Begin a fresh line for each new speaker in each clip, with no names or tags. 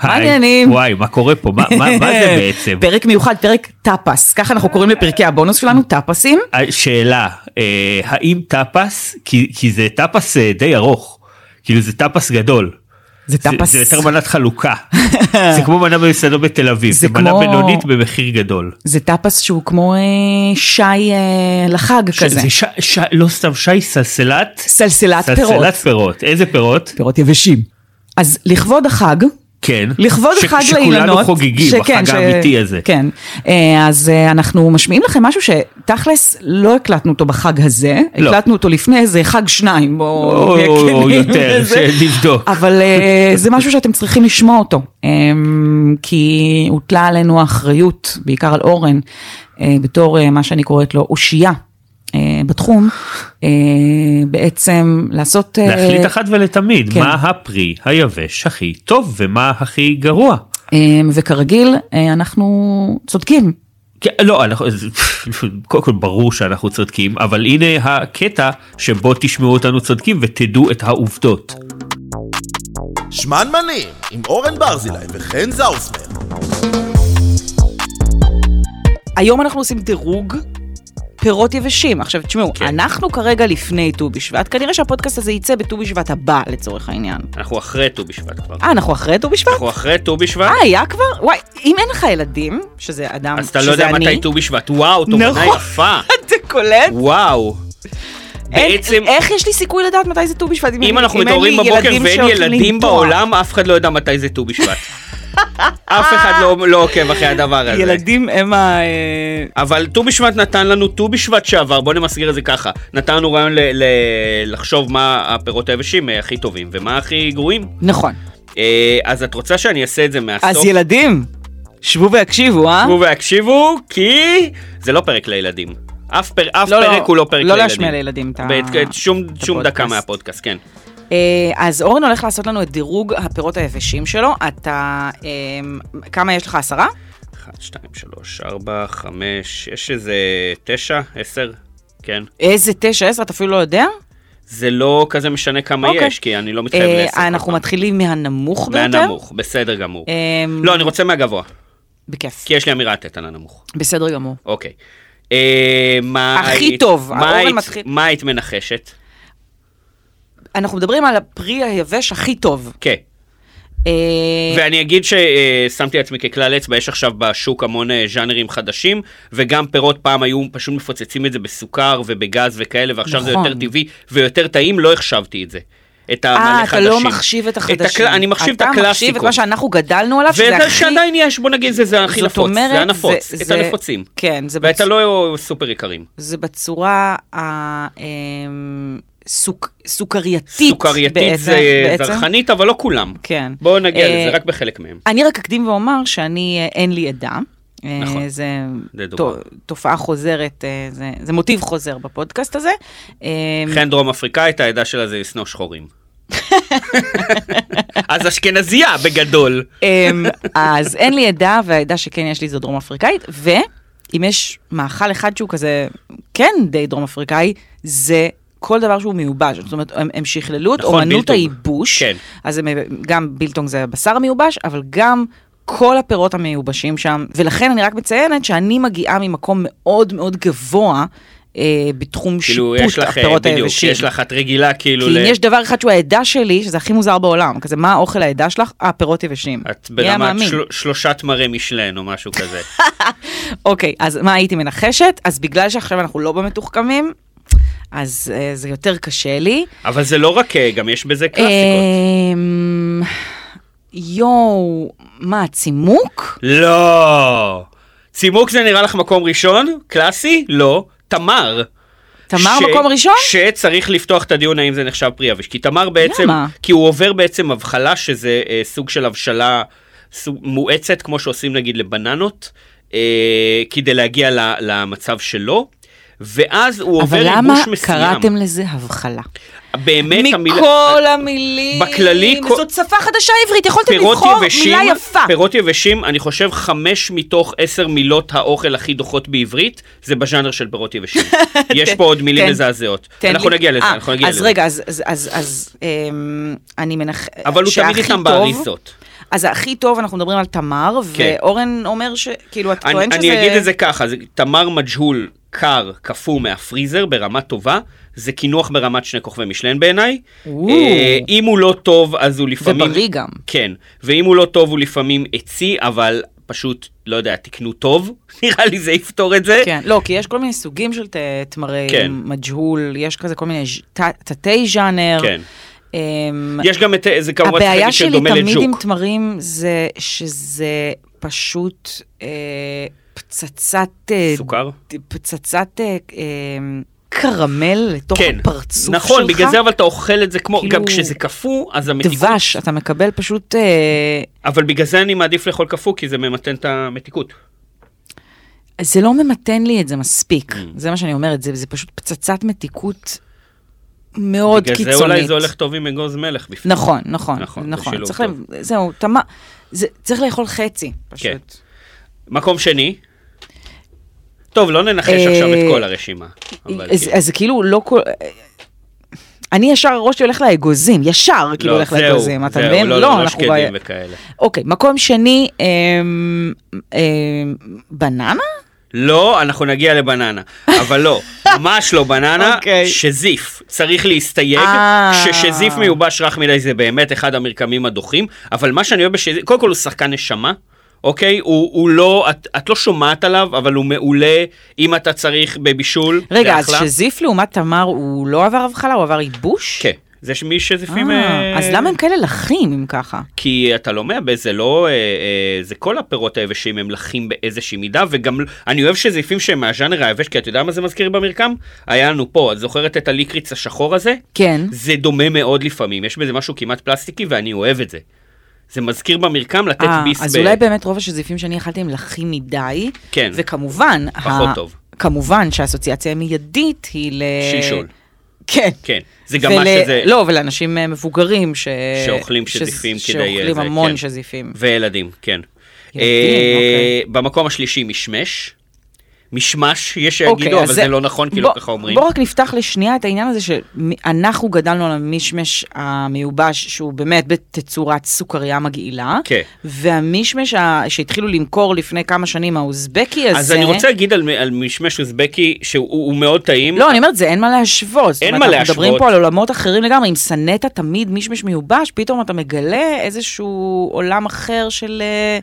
היי,
העניינים?
וואי, מה קורה פה? מה, מה, מה זה בעצם?
פרק מיוחד, פרק טאפס, ככה אנחנו קוראים לפרקי הבונוס שלנו, טאפסים.
שאלה, אה, האם טאפס, כי, כי זה טאפס אה, די ארוך, כאילו זה טאפס גדול.
זה
זה-
טאפס.
זה יותר מנת חלוקה. זה כמו מנה במסעדות בתל אביב,
זה
זה מנה
כמו-
בינונית במחיר גדול.
זה טאפס שהוא כמו אה, שי אה, לחג
ש-
כזה.
זה ש... ש... לא סתם שי, סלסלת.
סלסלת פירות.
סלסלת פירות. איזה פירות?
פירות יבשים. אז לכבוד החג,
כן.
לכבוד
ש-
החג
שכולנו
לאילנות,
חוגגים,
שכן,
החג האמיתי הזה.
כן, אה, אז אה, אנחנו משמיעים לכם משהו שתכלס לא הקלטנו אותו בחג הזה,
לא.
הקלטנו אותו לפני איזה חג שניים,
או-
או נהיה כנים
יותר,
בזה.
שנבדוק.
אבל אה, זה משהו שאתם צריכים לשמוע אותו, אה, כי הוטלה עלינו האחריות, בעיקר על אורן, אה, בתור אה, מה שאני קוראת לו אושייה. אה, בתחום, אה, בעצם לעשות... אה,
להחליט אחת ולתמיד,
כן.
מה הפרי היבש הכי טוב ומה הכי גרוע.
אמ, וכרגיל, אה, אנחנו צודקים.
כן, לא, אנחנו, אז- קודם כל ברור שאנחנו צודקים, אבל הנה הקטע שבו תשמעו אותנו צודקים ותדעו את העובדות.
שמנמנים, עם אורן ברזילי וחן זאוסמן.
היום אנחנו עושים דירוג פירות יבשים. עכשיו, תשמעו, כן. אנחנו כרגע לפני ט"ו בשבט, כנראה שהפודקאסט הזה יצא בט"ו בשבט הבא, לצורך העניין.
אנחנו אחרי ט"ו בשבט כבר.
אה, אנחנו אחרי ט"ו בשבט?
אנחנו אחרי ט"ו בשבט,
אה, היה כבר? וואי, אם אין לך ילדים, שזה אדם,
אז אתה
שזה
לא יודע
אני,
מתי ט"ו בשבט. וואו, תובנה
נכון.
יפה.
אתה קולט?
וואו.
אין-
בעצם,
איך יש לי סיכוי לדעת מתי זה ט"ו בשבט?
אם
אין-
אנחנו
אין לי
מתעוררים בבוקר
ילדים
ואין
שהולכים
ילדים
לנטוע.
בעולם, אף אחד לא יודע מתי זה ט"ו בשבט. אף אחד לא- לא עוקב אחרי הדבר הזה.
ילדים הם ה... אה,
אבל ט"ו בשבט נתן לנו, ט"ו בשבט שעבר, בוא נמסגר את זה ככה, נתן לנו רעיון ל- ל- לחשוב מה הפירות היבשים אה, הכי טובים ומה הכי גרועים.
נכון.
אה, אז את רוצה שאני אעשה את זה מהסוף?
אז ילדים, שבו ויקשיבו, אה?
תקשיבו והקשיבו, כי זה לא פרק לילדים. אף, פר... אף
לא, לא,
פרק הוא לא פרק
לא
לילדים.
להשמיע לילדים את ה-
בעת- את שום,
את
שום דקה
הפודקאסט.
מהפודקאסט, כן.
אה, אז אורן הולך לעשות לנו את דירוג הפירות היבשים שלו. אתה... אה, כמה יש לך? עשרה?
1, 2, 3, 4, 5, יש איזה 9, 10, כן.
איזה תשע, עשר, אתה אפילו לא יודע?
זה לא כזה משנה כמה
אוקיי.
יש, כי אני לא מתחייב
אה,
לעשר. כל
אנחנו
פעם.
מתחילים מהנמוך ביותר.
מהנמוך, בסדר גמור.
אה,
לא, אני רוצה מהגבוה,
בכיף.
כי יש לי אמירה לתת על הנמוך.
בסדר גמור.
אוקיי. אה, מה
הכי
היית-
טוב,
מה
האורן
היית-
מתחיל-
מה היית מנחשת?
אנחנו מדברים על הפרי היבש הכי טוב.
כן.
אה,
ואני אגיד ששמתי לעצמי ככלל אצבע, יש עכשיו בשוק המון אה, ז'אנרים חדשים, וגם פירות פעם היו פשוט מפוצצים את זה בסוכר ובגז וכאלה, ועכשיו זה
נכון.
יותר טבעי ויותר טעים, לא החשבתי את זה. את המלא
אה, אתה
חדשים.
לא מחשיב את החדשים.
הקל- אני מחשיב את
אתה מחשיב את
הקלאסיקות.
מה שאנחנו גדלנו עליו, שזה
וזה
הכי...
שעדיין יש, בוא נגיד, זה- זה הכי
זאת
נפוץ,
אומרת,
זה הנפוץ,
זה-
את
זה-
הנפוצים.
כן, זה
ואת
בצ-
הלא סופר יקרים.
זה בצורה אמ, הסוכרייתית
סוכרייתית זה זרחנית, אבל לא כולם.
כן.
בואו נגיע
אה,
לזה, רק בחלק מהם.
אני רק אקדים ואומר שאני, אה, אין לי עדה. אה,
נכון.
זה
זה
ת-
דוגמה.
תופעה חוזרת, אה, זה, זה מוטיב חוזר בפודקאסט הזה. אה,
חן דרום אפריקאית, העדה שלה זה לשנוא שחורים. אז אשכנזייה בגדול.
אה, אז אין לי עדה, והעדה שכן יש לי זו דרום אפריקאית, ואם יש מאכל אחד שהוא כזה, כן די דרום אפריקאי, זה כל דבר שהוא מיובש. זאת אומרת, הם, הם שכללו את
נכון,
אומנות
בילטונג.
הייבוש.
כן.
אז הם, גם בילטונג זה הבשר המיובש, אבל גם כל הפירות המיובשים שם. ולכן אני רק מציינת שאני מגיעה ממקום מאוד מאוד גבוה אה, בתחום
כאילו, יש
שיפוט
לך, אה,
הפירות
בדיוק,
היבשים.
יש לך את רגילה, כאילו,
כי
ל-
אם יש דבר אחד שהוא העדה שלי, שזה הכי מוזר בעולם, כזה מה האוכל העדה שלך? אה, פירות יבשים.
את
מי היה
ברמת
מאמין?
של- שלושת מראה משלן או משהו כזה.
אוקיי, אז מה הייתי מנחשת? אז בגלל שעכשיו אנחנו לא במתוחכמים, אז אה, זה יותר קשה לי.
אבל זה לא רק, אה, גם יש בזה
אה.
קלאסיקות.
אמ, יואו, מה, צימוק?
לא! צימוק זה נראה לך מקום ראשון? קלאסי? לא. תמר.
תמר
ש-
מקום ראשון?
שצריך לפתוח את הדיון האם זה נחשב פרי יבש. כי תמר בעצם,
למה?
כי הוא עובר בעצם הבחלה שזה אה, סוג של הבשלה סוג, מואצת, כמו שעושים נגיד לבננות, אה, כדי להגיע ל, למצב שלו. ואז הוא עובר
אבל למה
ייבוש מסוים.
קראתם לזה הבחלה?
באמת
מכל המילים,
בכללי, כל-
זאת שפה חדשה עברית, יכולתם
פירות
לבחור
יבשים,
מילה יפה.
פירות יבשים, אני חושב חמש מתוך עשר מילות האוכל הכי דוחות בעברית, זה בז'אנר של פירות יבשים. יש פה עוד מילים
תן-
מזעזעות.
כן, תן
אנחנו
לי-
נגיע לזה,
אה,
אנחנו נגיע
אז
לזה.
רגע, אז- אז- אז אז, אמ, אני מנח...
אבל הוא תמיד
שהכי
איתם
טוב-
באריזות.
אז הכי טוב, אנחנו מדברים על תמר,
כן.
ואורן אומר ש... כאילו, אתה
אני,
טוען שזה...
אני אגיד את זה ככה, זה תמר מג'הול קר, קפוא מהפריזר ברמה טובה, זה קינוח ברמת שני כוכבי משלן בעיניי.
וואו.
אה, אם הוא לא טוב, אז הוא לפעמים...
ובריא גם.
כן, ואם הוא לא טוב, הוא לפעמים עצי, אבל פשוט, לא יודע, תקנו טוב, נראה לי זה יפתור את זה.
כן, לא, כי יש כל מיני סוגים של ת- תמרי
כן.
מג'הול, יש כזה כל מיני ז'- ת- תתי ז'אנר.
כן.
אמ,
יש גם את זה כמובן
הבעיה
ספק
שלי
שדומה
תמיד עם
לג'וק.
תמרים זה שזה פשוט אה, פצצת... אה,
סוכר?
ד- פצצת אה, אה, קרמל לתוך
כן,
הפרצוף שלך.
נכון, בגלל זה אבל אתה אוכל את זה כמו,
כאילו-
גם כשזה קפוא, אז המתיקות,
דבש, אתה מקבל פשוט... אה,
אבל בגלל זה אני מעדיף לאכול קפוא, כי זה ממתן את המתיקות.
זה לא ממתן לי את זה מספיק,
Mm.
זה מה שאני אומרת, זה, זה פשוט פצצת מתיקות מאוד
בגלל
קיצונית.
זה אולי זה הולך טוב עם אגוז מלך בפנים.
נכון, נכון,
נכון,
נכון.
זה
נכון.
שילוב
צריך
טוב.
לה... זהו, תמה... זה... צריך לאכול חצי, פשוט.
כן. מקום שני. טוב, לא ננחש
אה,
עכשיו את כל הרשימה. אבל
אז,
כן.
אז כאילו לא כל... אני ישר, הראש שלי הולך לאגוזים, ישר כאילו
לא,
הולך
זהו,
לאגוזים, אתה
זהו,
מבין?
לא, לא, לא
אנחנו
שקדים
ב-
וכאלה.
אוקיי, מקום שני, אמ, אמ, בננה?
לא, אנחנו נגיע לבננה. אבל לא, ממש לא בננה,
אוקיי.
שזיף. צריך להסתייג,
אה.
כששזיף מיובש רך מדי זה באמת אחד המרקמים הדוחים, אבל מה שאני אוהב בשזיף, קודם כל הוא שחקן נשמה. אוקיי, הוא, הוא לא, את, את לא שומעת עליו, אבל הוא מעולה אם אתה צריך בבישול.
רגע,
זה
אז
אחלה.
שזיף לעומת תמר, הוא לא עבר הבחלה, הוא עבר ייבוש?
כן, זה מי שזיפים...
אה,
אה,
אז למה הם כאלה לחים אם ככה?
כי אתה לא מעבה, זה לא... אה, אה, זה כל הפירות היבשים הם לחים באיזושהי מידה, וגם אני אוהב שזיפים שהם מהז'אנר היבש, כי אתה יודע מה זה מזכיר במרקם? היה לנו פה, את זוכרת את הליקריץ השחור הזה?
כן.
זה דומה מאוד לפעמים, יש בזה משהו כמעט פלסטיקי ואני אוהב את זה. זה מזכיר במרקם לתת
אה,
ביס
אז
ב...
אולי באמת רוב השזיפים שאני אכלתי הם לחים מדי.
כן.
וכמובן...
פחות טוב.
כמובן שהאסוציאציה המיידית היא ל...
שלשול.
כן.
כן, זה גם מה שזה...
לא, ולאנשים אה, מבוגרים ש...
שאוכלים
ש-
שזיפים כדי...
שאוכלים
זה,
המון
כן.
שזיפים.
וילדים, כן.
ילדים,
אה,
אוקיי.
במקום השלישי, משמש. משמש, יש
אוקיי,
שיגידו,
אז
אבל זה לא נכון, כי לא
בוא-
ככה אומרים.
בוא רק נפתח לשנייה את העניין הזה שאנחנו גדלנו על המשמש המיובש, שהוא באמת בתצורת סוכריה מגעילה.
כן.
והמישמש ה- שהתחילו למכור לפני כמה שנים, האוזבקי הזה...
אז אני רוצה להגיד על, על משמש אוזבקי שהוא הוא מאוד טעים.
לא, אני אומרת, זה אין מה להשוות. זאת
אין
אומרת,
מה
אנחנו מדברים
להשוות.
פה על עולמות אחרים לגמרי. אם שנאת תמיד מישמש מיובש, פתאום אתה מגלה איזשהו עולם אחר של... אה,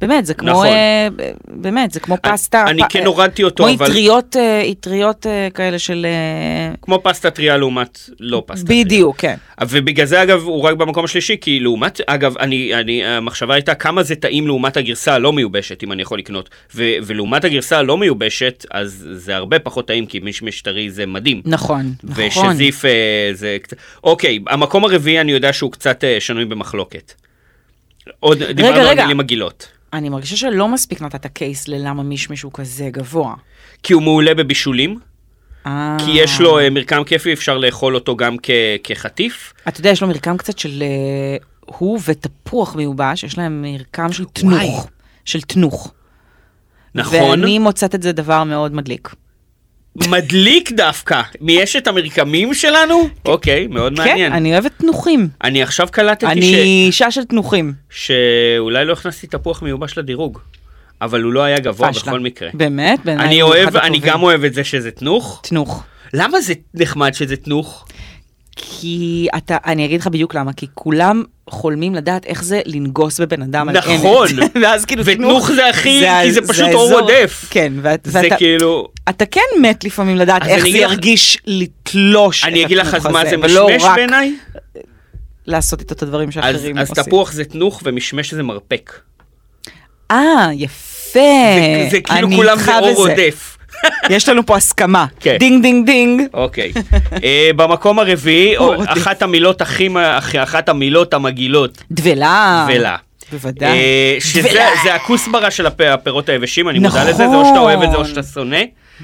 באמת, זה כמו...
נכון.
אה, ב- באמת, זה כמו
אני-
פסטה...
אני
פ-
כן
אה,
הורדתי אותו,
כמו
אבל-
אטריות, אה, אטריות אה, כאלה של... אה,
כמו פסטה טריה לעומת לא פסטה טריה.
בדיוק, כן.
ובגלל זה אגב הוא רק במקום השלישי כי לעומת אגב אני אני המחשבה הייתה כמה זה טעים לעומת הגרסה הלא מיובשת אם אני יכול לקנות ו, ולעומת הגרסה הלא מיובשת אז זה הרבה פחות טעים כי משמש טרי זה מדהים.
נכון, נכון.
ושזיף אה, זה קצת אוקיי המקום הרביעי אני יודע שהוא קצת אה, שנוי במחלוקת. עוד דיברנו על
רגע.
מילים מגעילות.
אני מרגישה שלא מספיק נתת קייס ללמה מישמש הוא כזה גבוה.
כי הוא מעולה בבישולים.
אה.
כי יש לו אה, מרקם כיפי, אפשר לאכול אותו גם כ- כחטיף.
אתה יודע, יש לו מרקם קצת של... אה, הוא ותפוח מיובש, יש להם מרקם של תנוך. של תנוך.
נכון,
ואני מוצאת את זה דבר מאוד מדליק.
מדליק דווקא. מי יש את המרקמים שלנו? אוקיי, מאוד מעניין.
כן, אני אוהבת תנוחים.
אני עכשיו קלטתי
אני
ש-
אישה של תנוחים.
שאולי לא הכנסתי תפוח מיובש לדירוג, אבל הוא לא היה גבוה
פשלה.
בכל מקרה.
באמת? בעיניי
אני
הוא
אוהב,
אחד
אני
הטובים.
גם אוהב את זה שזה תנוך.
תנוך.
למה זה נחמד שזה תנוך?
כי אתה, אני אגיד לך בדיוק למה, כי כולם חולמים לדעת איך זה לנגוס בבן אדם על אמת.
נכון.
ואז כאילו
ותנוך זה הכי- כי זה פשוט אור
האזור-
עודף.
כן, ואת-
זה
ואתה...
כאילו...
אתה כן מת לפעמים לדעת
אז
איך
אני
זה
אגיד לך-
ירגיש לתלוש את התנוך הזה,
אני אגיד לך אז מה זה
ולא
משמש
רק
בעיניי?
לעשות את הדברים
אז-
שאחרים
אז
עושים.
תפוח זה תנוך ומשמש זה מרפק.
אה, יפה.
זה- זה כאילו
אה, אני
כולם
איתך
זה אור
בזה.
עודף.
יש לנו פה הסכמה.
כן.
דינג דינג דינג.
אוקיי. אה, במקום הרביעי,
אור
או-
עודף.
אחת המילות הכי, מ- הכי- אחת המילות המגעילות,
דבלה.
ולה.
בוודאי.
אה, שזה
דבלה.
זה הכוסברה של הפ- הפירות היבשים, אני מודע
נכון.
לזה, זה או שאתה אוהב את זה או שאתה שונא.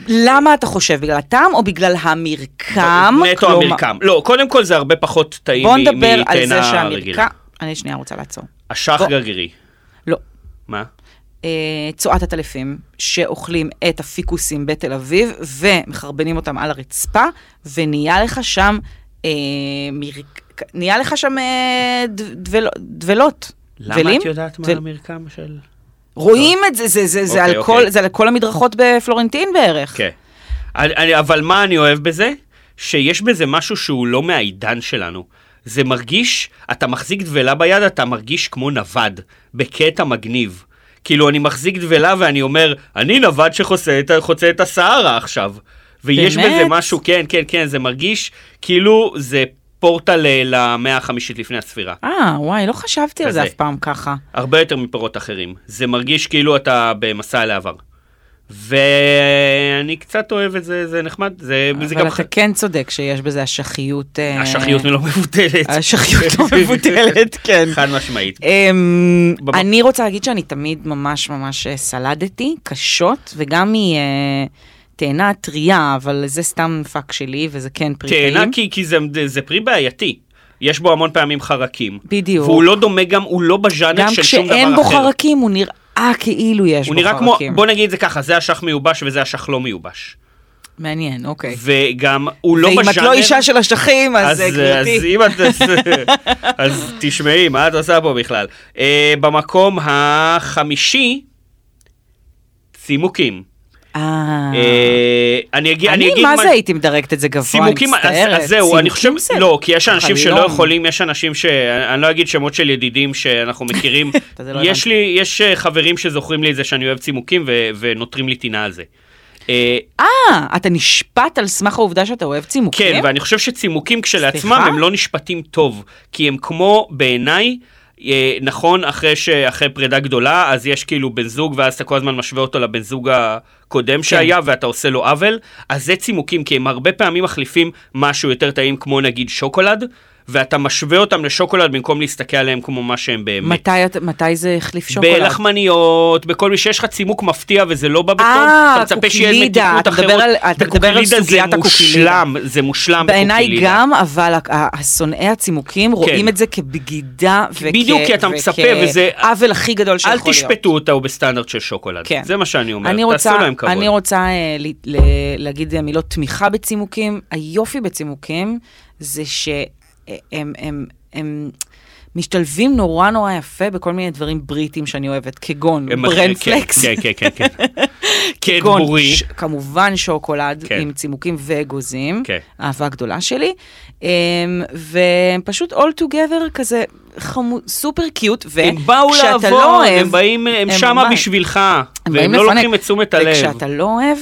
למה אתה חושב? בגלל הטעם או בגלל המרקם?
נטו
כלומר-
המרקם. לא, קודם כל זה הרבה פחות טעים
בוא
מ-
נדבר על זה
מטענה רגילה.
שהמרקם... אני שנייה רוצה לעצור.
אשח
בוא.
גרגירי.
לא.
מה?
אה, צואת הטלפים, שאוכלים את הפיקוסים בתל אביב ומחרבנים אותם על הרצפה, ונהיה לך שם, אה, מרק... נהיה לך שם אה, דב- דבל... דבלות.
למה
ולים.
את יודעת מה
ול-
המרקם של...
רואים את זה, זה, זה, זה,
אוקיי,
על, כל,
אוקיי.
זה על כל המדרכות בפלורנטין בערך.
כן. אני- אני- אבל מה אני אוהב בזה? שיש בזה משהו שהוא לא מהעידן שלנו. זה מרגיש, אתה מחזיק דבלה ביד, אתה מרגיש כמו נווד, בקטע מגניב. כאילו, אני מחזיק דבלה ואני אומר, אני נווד שחוצה את, ה- חוצה את הסהרה עכשיו. ויש
באמת?
בזה משהו, כן, כן, כן, זה מרגיש כאילו זה פורטל ל- למאה החמישית לפני הספירה.
אה, וואי, לא חשבתי על זה
כזה.
אף פעם ככה.
הרבה יותר מפירות אחרים. זה מרגיש כאילו אתה במסע אל העבר. ואני קצת אוהב את זה, זה נחמד, זה, זה
אבל
גם
אתה
ח...
כן צודק שיש בזה אשכיות... אה,
השחיות לא מבוטלת.
אשכיות לא מבוטלת, כן.
חד משמעית.
אמ,
במ-
אני רוצה להגיד שאני תמיד ממש ממש אה, סלדתי קשות, וגם מתאנה טריה, אבל זה סתם פאק שלי, וזה כן פרי טעים.
תאנה כי, כי זה, זה פרי בעייתי. יש בו המון פעמים חרקים.
בדיוק.
והוא לא דומה גם, הוא לא בז'אנר
גם
של שום דבר אחר.
כשאין בו חרקים, הוא נראה כאילו יש בו
הוא נראה כמו,
חרקים.
בוא נגיד את זה ככה, זה אשך מיובש וזה אשך לא מיובש.
מעניין, אוקיי.
וגם, הוא לא בז'אנר...
ואם את לא אישה של אשכים, אז אה,
אז
גברתי.
אם את... אז תשמעי, מה את עושה פה בכלל? אה, במקום החמישי, צימוקים.
אה.
אה, אני אגיד...
אני,
אגיד
מה זה הייתי מדרגת את זה גבוה, אני
צימוקים, אז-
מצטערת.
אז זהו, אני חושב,
צימוקים זה
לא, כי יש אנשים שלא
חלום.
יכולים, יש אנשים ש... אני לא אגיד שמות של ידידים שאנחנו מכירים.
אתה זה לא
יש
הבנתי.
לי, יש אה, חברים שזוכרים לי את זה שאני אוהב צימוקים ו- ונותרים לי טינה על זה. אה,
אה, אתה נשפט על סמך העובדה שאתה אוהב צימוקים?
כן, ואני חושב שצימוקים כשלעצמם
סליחה?
הם לא נשפטים טוב, כי הם כמו, בעיניי, אה, נכון, אחרי, ש... אחרי פרידה גדולה, אז יש כאילו בן זוג, ואז אתה כל הזמן משווה אותו לבן זוג הקודם
כן.
שהיה, ואתה עושה לו עוול, אז זה צימוקים, כי הם הרבה פעמים מחליפים משהו יותר טעים, כמו נגיד שוקולד, ואתה משווה אותם לשוקולד במקום להסתכל עליהם כמו מה שהם באמת.
מתי, את- מתי זה החליף שוקולד?
בלחמניות, בכל מי שיש לך צימוק מפתיע וזה לא בא בטוב,
אה,
אתה מצפה שיהיה
קוקילידה,
מתיקות
אתה מדבר
אחרות.
על- אתה מדבר על
בקוקילידה זה
סוגיית הקוקילידה.
מושלם, זה מושלם
בעיניי
בקוקילידה.
גם, אבל ה- ה- השונאי הצימוקים רואים את זה כבגידה וכ...
כן. בדיוק, כי אתה מצפה, וזה-
עוול הכי גדול שיכול
אל
להיות.
תשפטו אותה, הוא בסטנדרט של שוקולד.
כן.
זה מה שאני אומר,
אני
תעשו
רוצה,
להם כבוד.
אני רוצה אה, ל, ל, להגיד אה, מילות תמיכה בצימוקים. היופי בצימוקים זה שהם הם, הם, הם משתלבים נורא נורא יפה בכל מיני דברים בריטים שאני אוהבת, כגון
הם-
ברנפלקס.
כן, כן, כן, כן.
כגון
קדבורי.
ש- כמובן שוקולד
כן.
עם צימוקים ואגוזים,
כן.
אהבה גדולה שלי, אמ, ופשוט all together כזה חמו, סופר קיוט,
הם באו
וכשאתה
לעבוד,
לא אוהב,
הם באים, הם
הם
שמה
ממש-
בשבילך,
הם
והם
באים
לא
לפניך.
לוקחים את תשומת הלב.
וכשאתה לא אוהב,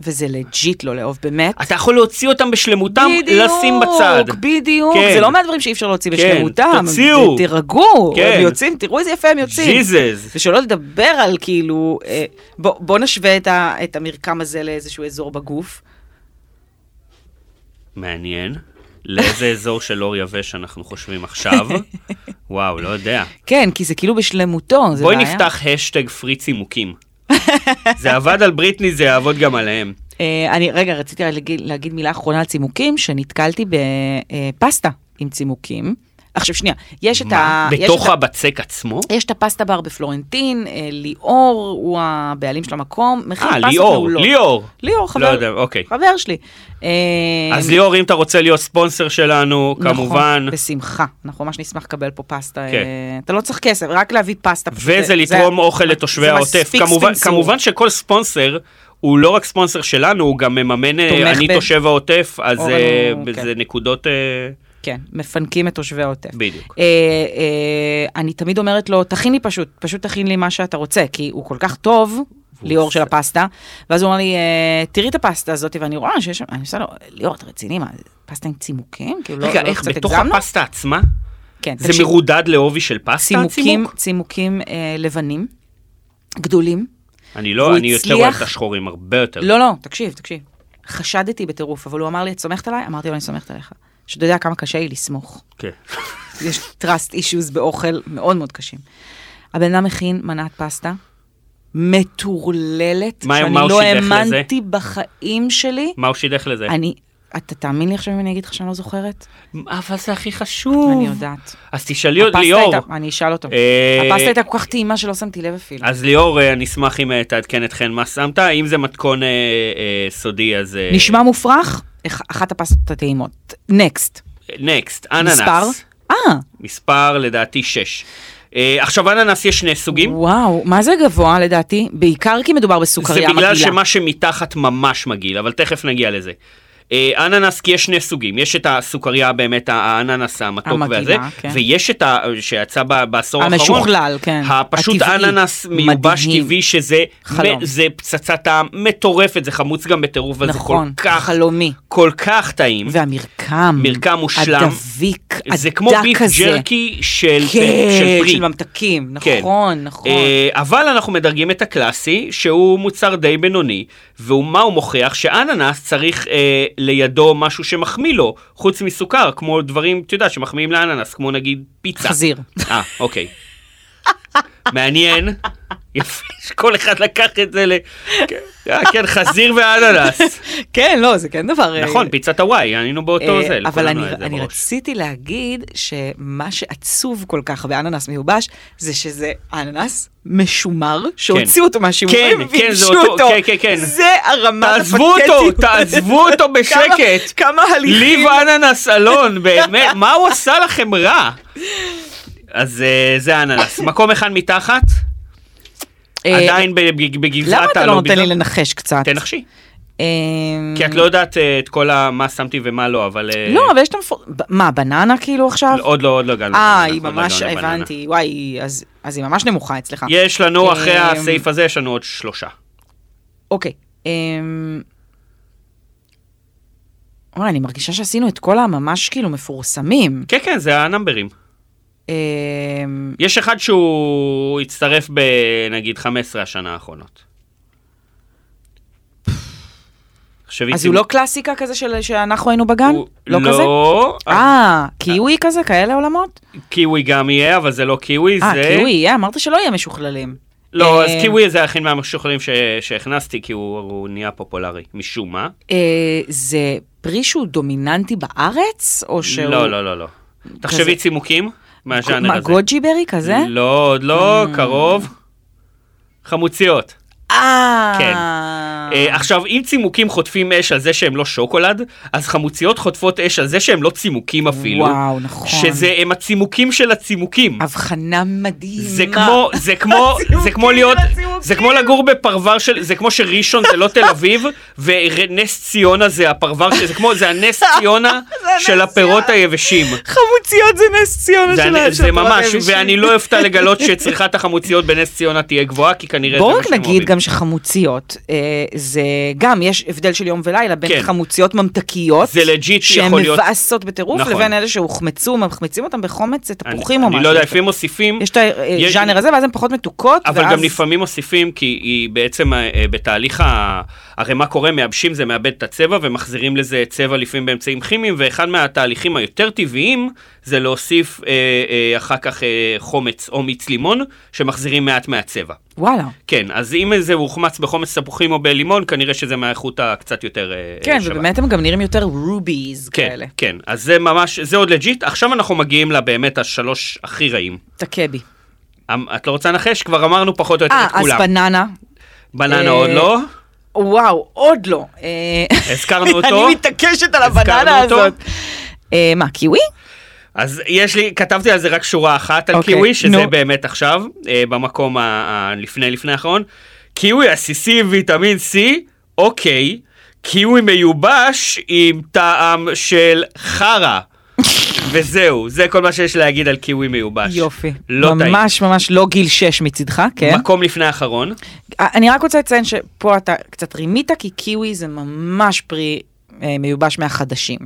וזה לג'יט לא לאהוב, באמת.
אתה יכול להוציא אותם בשלמותם,
בדיוק,
לשים בצד.
בדיוק,
כן.
זה לא מהדברים שאי אפשר להוציא בשלמותם.
תוציאו.
תירגעו,
כן.
הם יוצאים, תראו איזה יפה הם יוצאים.
ג'יזז.
ושלא לדבר על כאילו, אה, בוא, בוא נשווה את, ה, את המרקם הזה לאיזשהו אזור בגוף.
מעניין. לאיזה אזור של אור יבש אנחנו חושבים עכשיו? וואו, לא יודע.
כן, כי זה כאילו בשלמותו, זה
בואי
בעיה.
נפתח השטג פרי צימוקים. זה עבד על בריטני, זה יעבוד גם עליהם.
אה, אני, רגע, רציתי להגיד, להגיד מילה אחרונה על צימוקים, שנתקלתי בפסטה עם צימוקים. עכשיו שנייה, יש את ה...
מה,
יש
בתוך
את ה- אה,
הבצק עצמו?
יש את הפסטה בר בפלורנטין, אה, ליאור הוא הבעלים של המקום, מכין
אה,
פסטות
ליאור,
מעולות.
ליאור.
לא. ליאור, חבר,
לא יודע, אוקיי.
חבר שלי. אה,
אז ליאור, אם אתה רוצה להיות ספונסר שלנו,
נכון,
כמובן,
בשמחה, אנחנו ממש נשמח לקבל פה פסטה.
כן.
אה, אתה לא צריך כסף, רק להביא פסטה. פשוט
וזה לתרום אוכל לתושבי
זה
העוטף.
מספיק
כמובן-
ספנסור.
כמובן שכל ספונסר... הוא לא רק ספונסר שלנו, הוא גם מממן, אה,
תומך
אני
ב-
תושב העוטף, אז
אורן
אה,
הוא-
זה
כן.
נקודות... אה,
כן, מפנקים את תושבי העוטף.
בדיוק.
אה, אה, אני תמיד אומרת לו, תכין לי פשוט, פשוט תכין לי מה שאתה רוצה, כי הוא כל כך טוב, ליאור של הפסטה, ואז הוא אמר לי, אה, תראי את הפסטה הזאת, ואני רואה שיש שם, אני עושה לו, ליאור, אתה רציני, מה, פסטה עם צימוקים? כאילו, לא,
רגע,
לא
איך,
קצת
בתוך
הגזמנו?
הפסטה עצמה?
כן,
זה
תקשיב,
מרודד לעובי של פסטה,
צימוקים,
הצימוק?
צימוקים אה, לבנים, גדולים.
אני לא,
והוא
אני יותר
הצליח-
אוהב את השחורים, הרבה יותר.
לא, לא, תקשיב, תקשיב. חשדתי בטירוף, אבל הוא אמר לי, את סומכת עליי? אמרתי לו, אני סומכת עליך. שאתה יודע כמה קשה לי לסמוך.
כן.
יש trust issues באוכל מאוד מאוד קשים. הבן אדם הכין מנת פסטה מטורללת,
מה-
שאני
מה הוא
לא
שידך לזה?
האמנתי בחיים שלי.
מה הוא שידך לזה?
אני, אתה תאמין לי עכשיו אם אני אגיד לך שאני לא זוכרת?
אבל זה הכי חשוב.
אני יודעת.
אז תשאלי עוד
הפסטה
ליאור.
הייתה- אני אשאל אותו.
אה,
הפסטה הייתה כל כך טעימה שלא שמתי לב אפילו.
אז ליאור, אה, אני אשמח אם אה, תעדכן אתכן מה שמת, אם זה מתכון אה, אה, סודי אז... אה,
נשמע מופרך? אח- אחת הפסטות הטעימות. נקסט.
נקסט, אננס.
מספר? אה,
מספר לדעתי 6. אה, עכשיו אננס יש שני סוגים.
וואו, מה זה גבוה לדעתי? בעיקר כי מדובר
זה
בסוכריה מגעילה.
בגלל שמה שמתחת ממש מגעיל, אבל תכף נגיע לזה. אה, אננס, כי יש שני סוגים, יש את הסוכריה באמת, האננס המתוק
המגעילה,
והזה,
כן.
ויש את ה... שיצא ב- בעשור האחרון.
המשוכלל, כן.
הפשוט
הטבעי.
אננס מיובש
מדהים.
טבעי, שזה
חלום.
מ- זה פצצת טעם מטורפת, זה חמוץ גם בטירוף, וזה כל
נכון,
כך,
חלומי.
כל כך טעים.
והמרקם,
מרקם מושלם.
הדביק, הדק הזה.
זה כמו ביף ג'רקי של,
כן,
של פרי.
של ממתקים,
כן.
נכון, נכון.
אה, אבל אנחנו מדרגים את הקלאסי, שהוא מוצר די בינוני, ומה הוא מוכיח? שאננס צריך אה, לידו משהו שמחמיא לו, חוץ מסוכר, כמו דברים, אתה יודע, שמחמיאים לאננס, כמו נגיד פיצה.
חזיר.
אה, אוקיי. מעניין. יפה שכל אחד לקח את זה ל... כן, אה, כן, חזיר ואננס.
כן, לא, זה כן דבר... אה,
נכון, פיצת הוואי, היינו באותו
אה,
זה,
אבל
לכולנו היה
אני,
את זה
אני
בראש.
רציתי להגיד שמה שעצוב כל כך באננס מיובש, זה שזה אננס משומר, שהוציאו אותו
כן,
מהשימורים,
כן,
וייבשו
זה אותו-
אותו.
כן, כן, כן.
זה הרמה
תעזבו אותו, תעזבו אותו בשקט.
כמה הליכים.
ליב אננס אלון, באמת, מה הוא עשה לכם רע? אז אה, זה אננס. מקום אחד מתחת,
אה,
עדיין ב- ב- בגבעת
למה אתה לא
הלובי.
נותן לי לנחש קצת?
תנחשי.
אה,
כי את לא יודעת אה, את כל ה- מה שמתי ומה לא, אבל... אה,
לא, אבל יש את המפור... ב- מה, בננה כאילו עכשיו?
עוד לא, עוד לא הגענו.
אה,
לבננה,
היא
עוד לא
ממש,
הגענו לבננה.
הבנתי, וואי, אז אז היא ממש נמוכה אצלך.
יש לנו, אחרי
אה,
הסעיף הזה, יש לנו עוד שלושה.
אוקיי. אמ, וואי, אני מרגישה שעשינו את כל הממש כאילו מפורסמים.
כן, כן, זה הנמברים.
אמ,
יש אחד שהוא הצטרף בנגיד 15 השנה האחרונות. תחשבי,
אז
צימ-
הוא לא קלאסיקה כזה של- שאנחנו היינו בגן?
הוא-
לא כזה?
לא,
אה, קיווי כזה? כאלה עולמות?
קיווי גם יהיה, אבל זה לא קיווי,
אה,
זה...
קיווי, יהיה, אמרת שלא יהיה משוכללים.
לא, אז
אה,
קיווי זה הכי מהמשוכלים ש... שהכנסתי, כי הוא, הוא נהיה פופולרי, משום מה.
אה, זה פרי שהוא דומיננטי בארץ? או שהוא...
לא, לא, לא, לא. תחשבי צימוקים מהז'אנר
מה, Mm.
הזה.
גוג'י ברי כזה?
לא, עוד לא, קרוב. חמוציות.
אה...
כן. אה, עכשיו, אם צימוקים חוטפים אש על זה שהם לא שוקולד, אז חמוציות חוטפות אש על זה שהם לא צימוקים אפילו.
וואו, נכון.
שזה הם הצימוקים של הצימוקים.
הבחנה מדהימה.
זה כמו, זה כמו, זה כמו
הצימוקים
להיות,
של הצימוקים.
זה כמו לגור בפרבר של, זה כמו שראשון זה לא תל אביב, ונס ציונה זה הפרבר, של- זה כמו, זה הנס ציונה
הנס
של הפירות היבשים.
חמוציות זה נס ציונה
זה,
של
הנ-
ה- של
זה
התורה
ממש,
היבשית.
ואני לא אופתע לגלות שצריכת החמוציות בנס ציונה תהיה גבוהה, כי כנראה זה
בואו
מה
רק
שהם
נגיד
אוהבים.
גם שחמוציות, אה, זה גם, יש הבדל של יום ולילה בין
כן.
חמוציות ממתקיות,
זה לג'יט
שהן
יכול להיות-
מבאסות בטירוף,
נכון.
לבין אלה שהוחמצו, מחמצים אותם בחומץ תפוחים או משהו.
אני לא יודע, לפעמים מוסיפים,
יש את הז'אנר הזה, ואז הן פחות מתוקות,
אבל
ואז-
גם לפעמים מוסיפים, כי היא בעצם אה, אה, בתהליך ה... הרי מה קורה, מייבשים זה מאבד את הצבע ומחזירים לזה צבע לפעמים באמצעים כימיים, ואחד מהתהליכים היותר טבעיים זה להוסיף אה, אה, אחר כך אה, חומץ או מיץ לימון, שמחזירים מעט מהצבע.
וואלה.
כן, אז אם זה הוחמץ בחומץ תפוחים או בלימון, כנראה שזה מהאיכות הקצת יותר אה,
כן,
שווה.
ובאמת הם גם נראים יותר רוביז
כן,
כאלה.
כן, אז זה ממש, זה עוד לג'יט. עכשיו אנחנו מגיעים לבאמת השלוש הכי רעים.
תכה בי.
אמ- את לא רוצה לנחש? כבר אמרנו פחות או יותר
אה,
את
אז
כולם.
בננה.
בננה
אה,
עוד לא.
וואו, עוד לא. אה,
הזכרנו אותו.
אני מתעקשת על
הזכרנו
הבננה
אותו.
הזאת. אה, מה, קיווי?
אז יש לי, כתבתי על זה רק שורה אחת על
אוקיי,
קיווי, שזה
נו.
באמת עכשיו, אה, במקום ה- ה- לפני לפני האחרון. קיווי עסיסי עם ויטמין C, אוקיי. קיווי מיובש עם טעם של חרא. וזהו, זה כל מה שיש להגיד על קיווי מיובש.
יופי.
לא טעים.
ממש ממש לא גיל 6 מצידך, כן. אה,
מקום לפני האחרון.
אני רק רוצה לציין שפה אתה קצת רימית, כי קיווי זה ממש פרי אה, מיובש מהחדשים.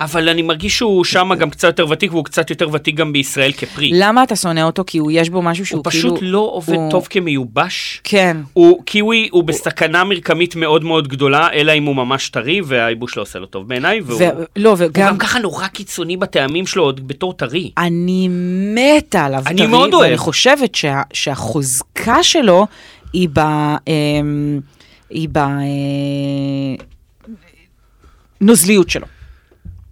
אבל אני מרגיש שהוא שם גם קצת יותר ותיק, והוא קצת יותר ותיק גם בישראל כפרי.
למה אתה שונא אותו? כי הוא יש בו משהו שהוא
הוא
כאילו...
פשוט לא עובד
הוא-
טוב כמיובש.
כן.
הוא קיווי הוא בסכנה מרקמית מאוד מאוד גדולה, אלא אם הוא ממש טרי, והייבוש לא עושה לו טוב בעיניי, והוא
ו- לא,
הוא
וגם...
גם ככה נורא קיצוני בטעמים שלו עוד בתור טרי.
אני מתה עליו
אני
טרי,
מאוד אוהב.
ואני חושבת שה, שהחוזקה שלו היא ב... אמ, היא ב... אה, נוזליות שלו.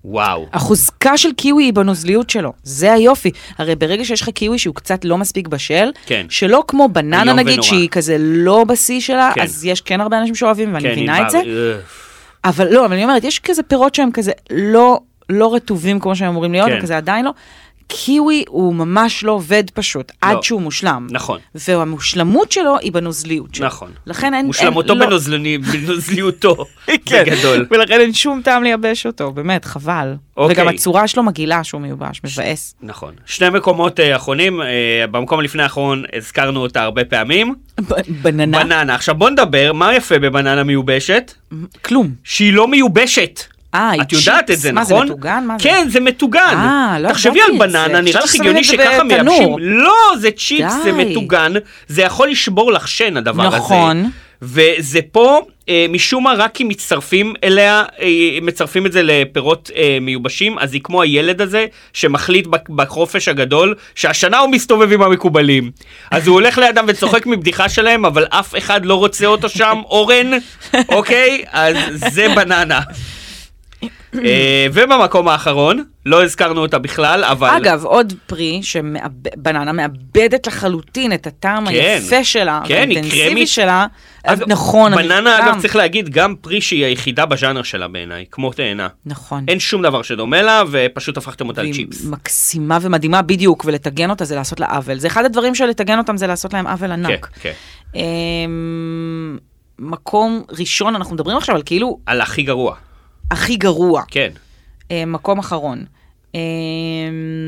וואו.
החוזקה של קיווי היא בנוזליות שלו, זה היופי. הרי ברגע שיש לך קיווי שהוא קצת לא מספיק בשל,
כן.
שלא כמו בננה
איום
נגיד,
ונורא.
שהיא כזה לא בשיא שלה,
כן.
אז יש כן הרבה אנשים שאוהבים, ואני
כן,
מבינה
ענבר,
את זה.
אה,
אבל לא, אבל אני אומרת, יש כזה פירות שהם כזה לא, לא רטובים כמו שהם אמורים להיות,
כן.
וכזה עדיין לא. קיווי הוא ממש לא עובד פשוט, לא. עד שהוא מושלם.
נכון.
והמושלמות שלו היא בנוזליות שלו.
נכון.
לכן אין...
מושלמותו
אין, לא-
בנוזלני- בנוזליותו,
כן.
בגדול.
ולכן אין שום טעם לייבש אותו, באמת, חבל.
אוקיי.
וגם הצורה שלו מגעילה שהוא מיובש, מבאס.
נכון. שני מקומות אה, אחרונים, אה, במקום לפני האחרון הזכרנו אותה הרבה פעמים.
ב- בננה?
בננה. עכשיו בוא נדבר, מה יפה בבננה מיובשת?
כלום.
שהיא לא מיובשת.
אה, היא
את יודעת את
צ'יפס.
זה,
מה, זה
נכון?
מטוגן? מה זה?
כן, זה מטוגן.
אה, לא
תחשבי
ידעתי
על
את זה.
בננה, נראה
חשבתי
לך
ששמים
הגיוני
את זה
שככה
בתנור.
מייבשים. לא, זה צ'יפס, זה
די.
מטוגן, זה יכול לשבור לך שן, הדבר הזה.
נכון.
וזה פה, אה, משום מה, רק אם מצטרפים אליה, אה, מצרפים את זה לפירות אה, מיובשים, אז היא כמו הילד הזה שמחליט בק- בחופש הגדול שהשנה הוא מסתובב עם המקובלים. אז הוא הולך לידם וצוחק מבדיחה שלהם, אבל אף אחד לא רוצה אותו שם, אורן, אוקיי? אז זה בננה. אה, ובמקום האחרון, לא הזכרנו אותה בכלל, אבל...
אגב, עוד פרי שבננה מאבדת לחלוטין את הטעם
כן.
היפה שלה,
כן, היא
האינטנסיבי
קרמית.
שלה.
אגב,
נכון, אני
בננה, אגב,
גם-
צריך להגיד, גם פרי שהיא היחידה בז'אנר שלה בעיניי, כמו תאנה.
נכון.
אין שום דבר שדומה לה, ופשוט הפכתם אותה
והיא
לצ'יפס.
מקסימה ומדהימה בדיוק, ולטגן אותה זה לעשות לה עוול. זה אחד הדברים של לטגן אותם זה לעשות להם עוול
כן,
ענק.
כן.
אמ, מקום ראשון, אנחנו מדברים עכשיו על כאילו
על הכי גרוע,
הכי גרוע.
כן.
אה, מקום אחרון. אמ,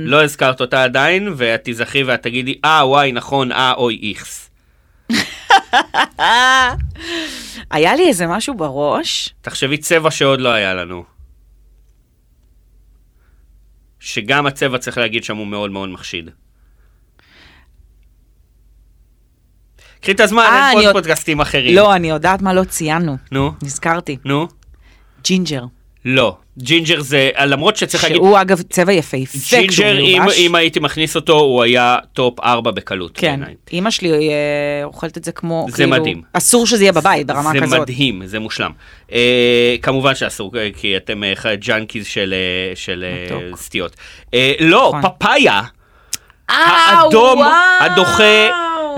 לא הזכרת אותה עדיין, ואת תיזכרי ואת תגידי, אה, וואי, נכון, אה, אוי, איכס.
היה לי איזה משהו בראש,
תחשבי צבע שעוד לא היה לנו. שגם הצבע, צריך להגיד שם, הוא מאוד מאוד מחשיד. קחי את הזמן,
אה,
אין
אני
פה עוד
עוד-
פודקאסטים אחרים.
לא, אני יודעת מה לא ציינו,
נו,
נזכרתי,
נו.
ג'ינג'ר,
לא. ג'ינג'ר זה, למרות שצריך להגיד,
שהוא אגב צבע יפהפה כשהוא
ג'ינג'ר, אם-
מיובש.
אם הייתי מכניס אותו, הוא היה טופ 4 בקלות.
כן,
בעיניי.
אימא שלי אה, אוכלת את זה כמו,
זה
כאילו,
מדהים.
אסור שזה יהיה בבית ברמה
זה
כזאת.
מדהים, זה מושלם. אה, כמובן שאסור, אה, כי אתם אה, ח- ג'אנקיז של, אה, של אה,
מתוק.
סטיות. אה, לא,
נכון.
פפאיה,
אה,
האדום,
וואו.
הדוחה,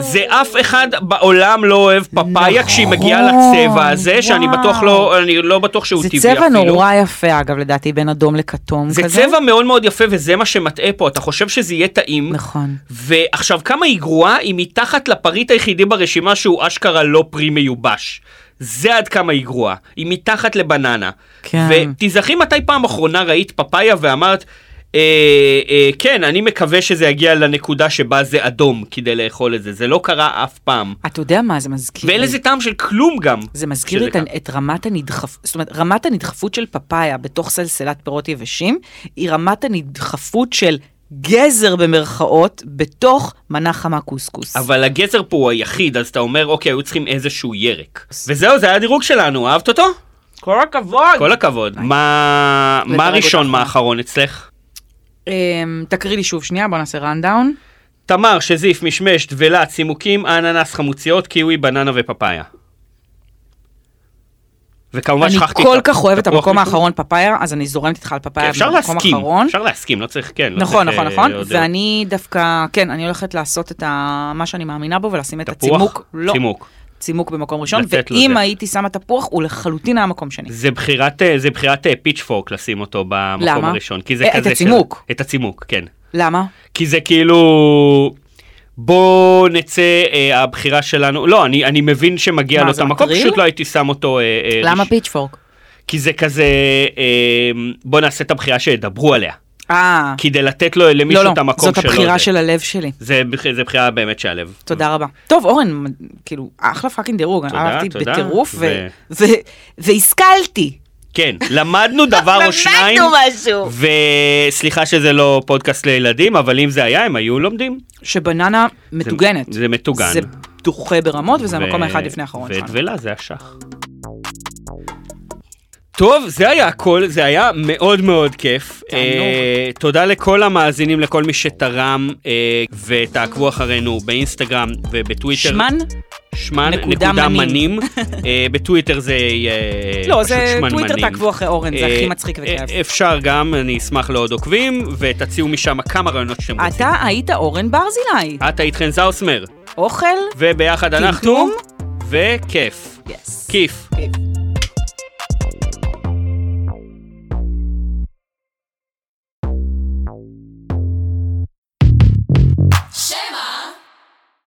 זה אף אחד בעולם לא אוהב פפאיה
נכון,
כשהיא מגיעה לצבע הזה, שאני
וואו.
בטוח לא, אני לא בטוח שהוא
זה
טבעי אפילו.
צבע נורא יפה, אגב, לדעתי, בין אדום לכתום
זה
כזה.
צבע מאוד מאוד יפה וזה מה שמטעה פה, אתה חושב שזה יהיה טעים,
נכון.
ועכשיו, כמה היא גרועה? היא מתחת לפריט היחידי ברשימה שהוא אשכרה לא פרי מיובש. זה עד כמה היא גרועה. היא מתחת לבננה.
כן.
ותיזכרי מתי פעם אחרונה ראית פפאיה ואמרת, אה, אה, כן, אני מקווה שזה יגיע לנקודה שבה זה אדום כדי לאכול את זה. זה לא קרה אף פעם.
אתה יודע מה זה מזכיר?
ואין
לי?
לזה טעם של כלום גם.
זה מזכיר
שזה
לי את,
ככה.
את רמת הנדחפות, זאת אומרת, רמת הנדחפות של פפאיה בתוך סלסלת פירות יבשים, היא רמת הנדחפות של גזר במרכאות בתוך מנה חמה קוסקוס.
אבל הגזר פה הוא היחיד, אז אתה אומר, אוקיי, היו צריכים איזשהו ירק. וזהו, זה היה הדירוג שלנו, אהבת אותו?
כל הכבוד!
כל הכבוד. מה מה
אה, לדרג
הראשון,
אותך.
מה האחרון אצלך?
אמ, תקריא לי שוב שנייה, בוא נעשה ראנדאון.
תמר, שזיף, משמש, דבלה, צימוקים, אננס, חמוציות, קיווי, בננה ופפאיה. וכמובן
אני
שכחתי
כל
ה-
כך אוהבת את
תפוח
המקום
מיקום.
האחרון פפאיה, אז אני זורמת איתך על
כן,
פפאיה
אפשר
במקום
להסכים,
האחרון.
אפשר להסכים, לא צריך, כן. לא
נכון,
צריך,
נכון,
אה,
נכון,
עוד-
ואני דווקא, כן, אני הולכת לעשות את ה- מה שאני מאמינה בו ולשים את
אה, תפוח,
הצימוק, לא,
צימוק.
צימוק במקום ראשון,
לתת לו
ואם
זה.
הייתי שמה תפוח, הוא לחלוטין היה מקום שני.
זה בחירת, אה, זה בחירת אה, פיצ'פורק לשים אותו במקום
למה?
הראשון. כי זה
אה, את
כזה של-
הצימוק.
את הצימוק, כן.
למה?
כי זה כאילו... בוא נצא, אה, הבחירה שלנו, לא, אני, אני מבין שמגיע
מה,
לו את
זה
המקום,
מטריל?
פשוט לא הייתי שם אותו אה, אה,
למה
ראשון.
פיצ'פורק?
כי זה כזה, אה, בוא נעשה את הבחירה שידברו עליה.
אה,
כדי לתת לו למישהו
לא, לא,
את המקום
זאת
שלו.
הבחירה
זה.
של הלב שלי.
זה, בח- זה בחירה באמת שהלב.
תודה רבה. טוב, אורן, כאילו, אחלה פאקינג דירוג,
תודה,
אהבתי
תודה.
בטירוף, ו-
ו-
ו- והשכלתי.
כן, למדנו דבר או שניים.
משהו.
וסליחה שזה לא פודקאסט לילדים, אבל אם זה היה, הם היו לומדים.
שבננה מטוגנת.
זה מטוגן.
זה דוחה ברמות, וזה המקום האחד לפני האחרון נכון.
ואת
שלנו.
ולה זה השח. טוב, זה היה הכל, זה היה מאוד מאוד כיף.
תענוג.
אה, תודה לכל המאזינים, לכל מי שתרם, אה, ותעקבו אחרינו באינסטגרם ובטוויטר.
שמן?
שמן
נקודה
נקודה
מנים.
מנים. אה, בטוויטר זה יהיה אה,
לא,
פשוט
זה
שמן
טוויטר
מנים.
תעקבו אחרי אורן, זה
אה,
הכי מצחיק
אה,
וכיף.
אפשר גם, אני אשמח לעוד עוקבים, ותציעו משם כמה רעיונות שאתם רוצים.
אתה היית אורן ברזילי.
את היית חן זאוסמר,
אוכל?
וביחד אנחנו,
טמטום?
וכיף.
יס.
כיף.
כיף.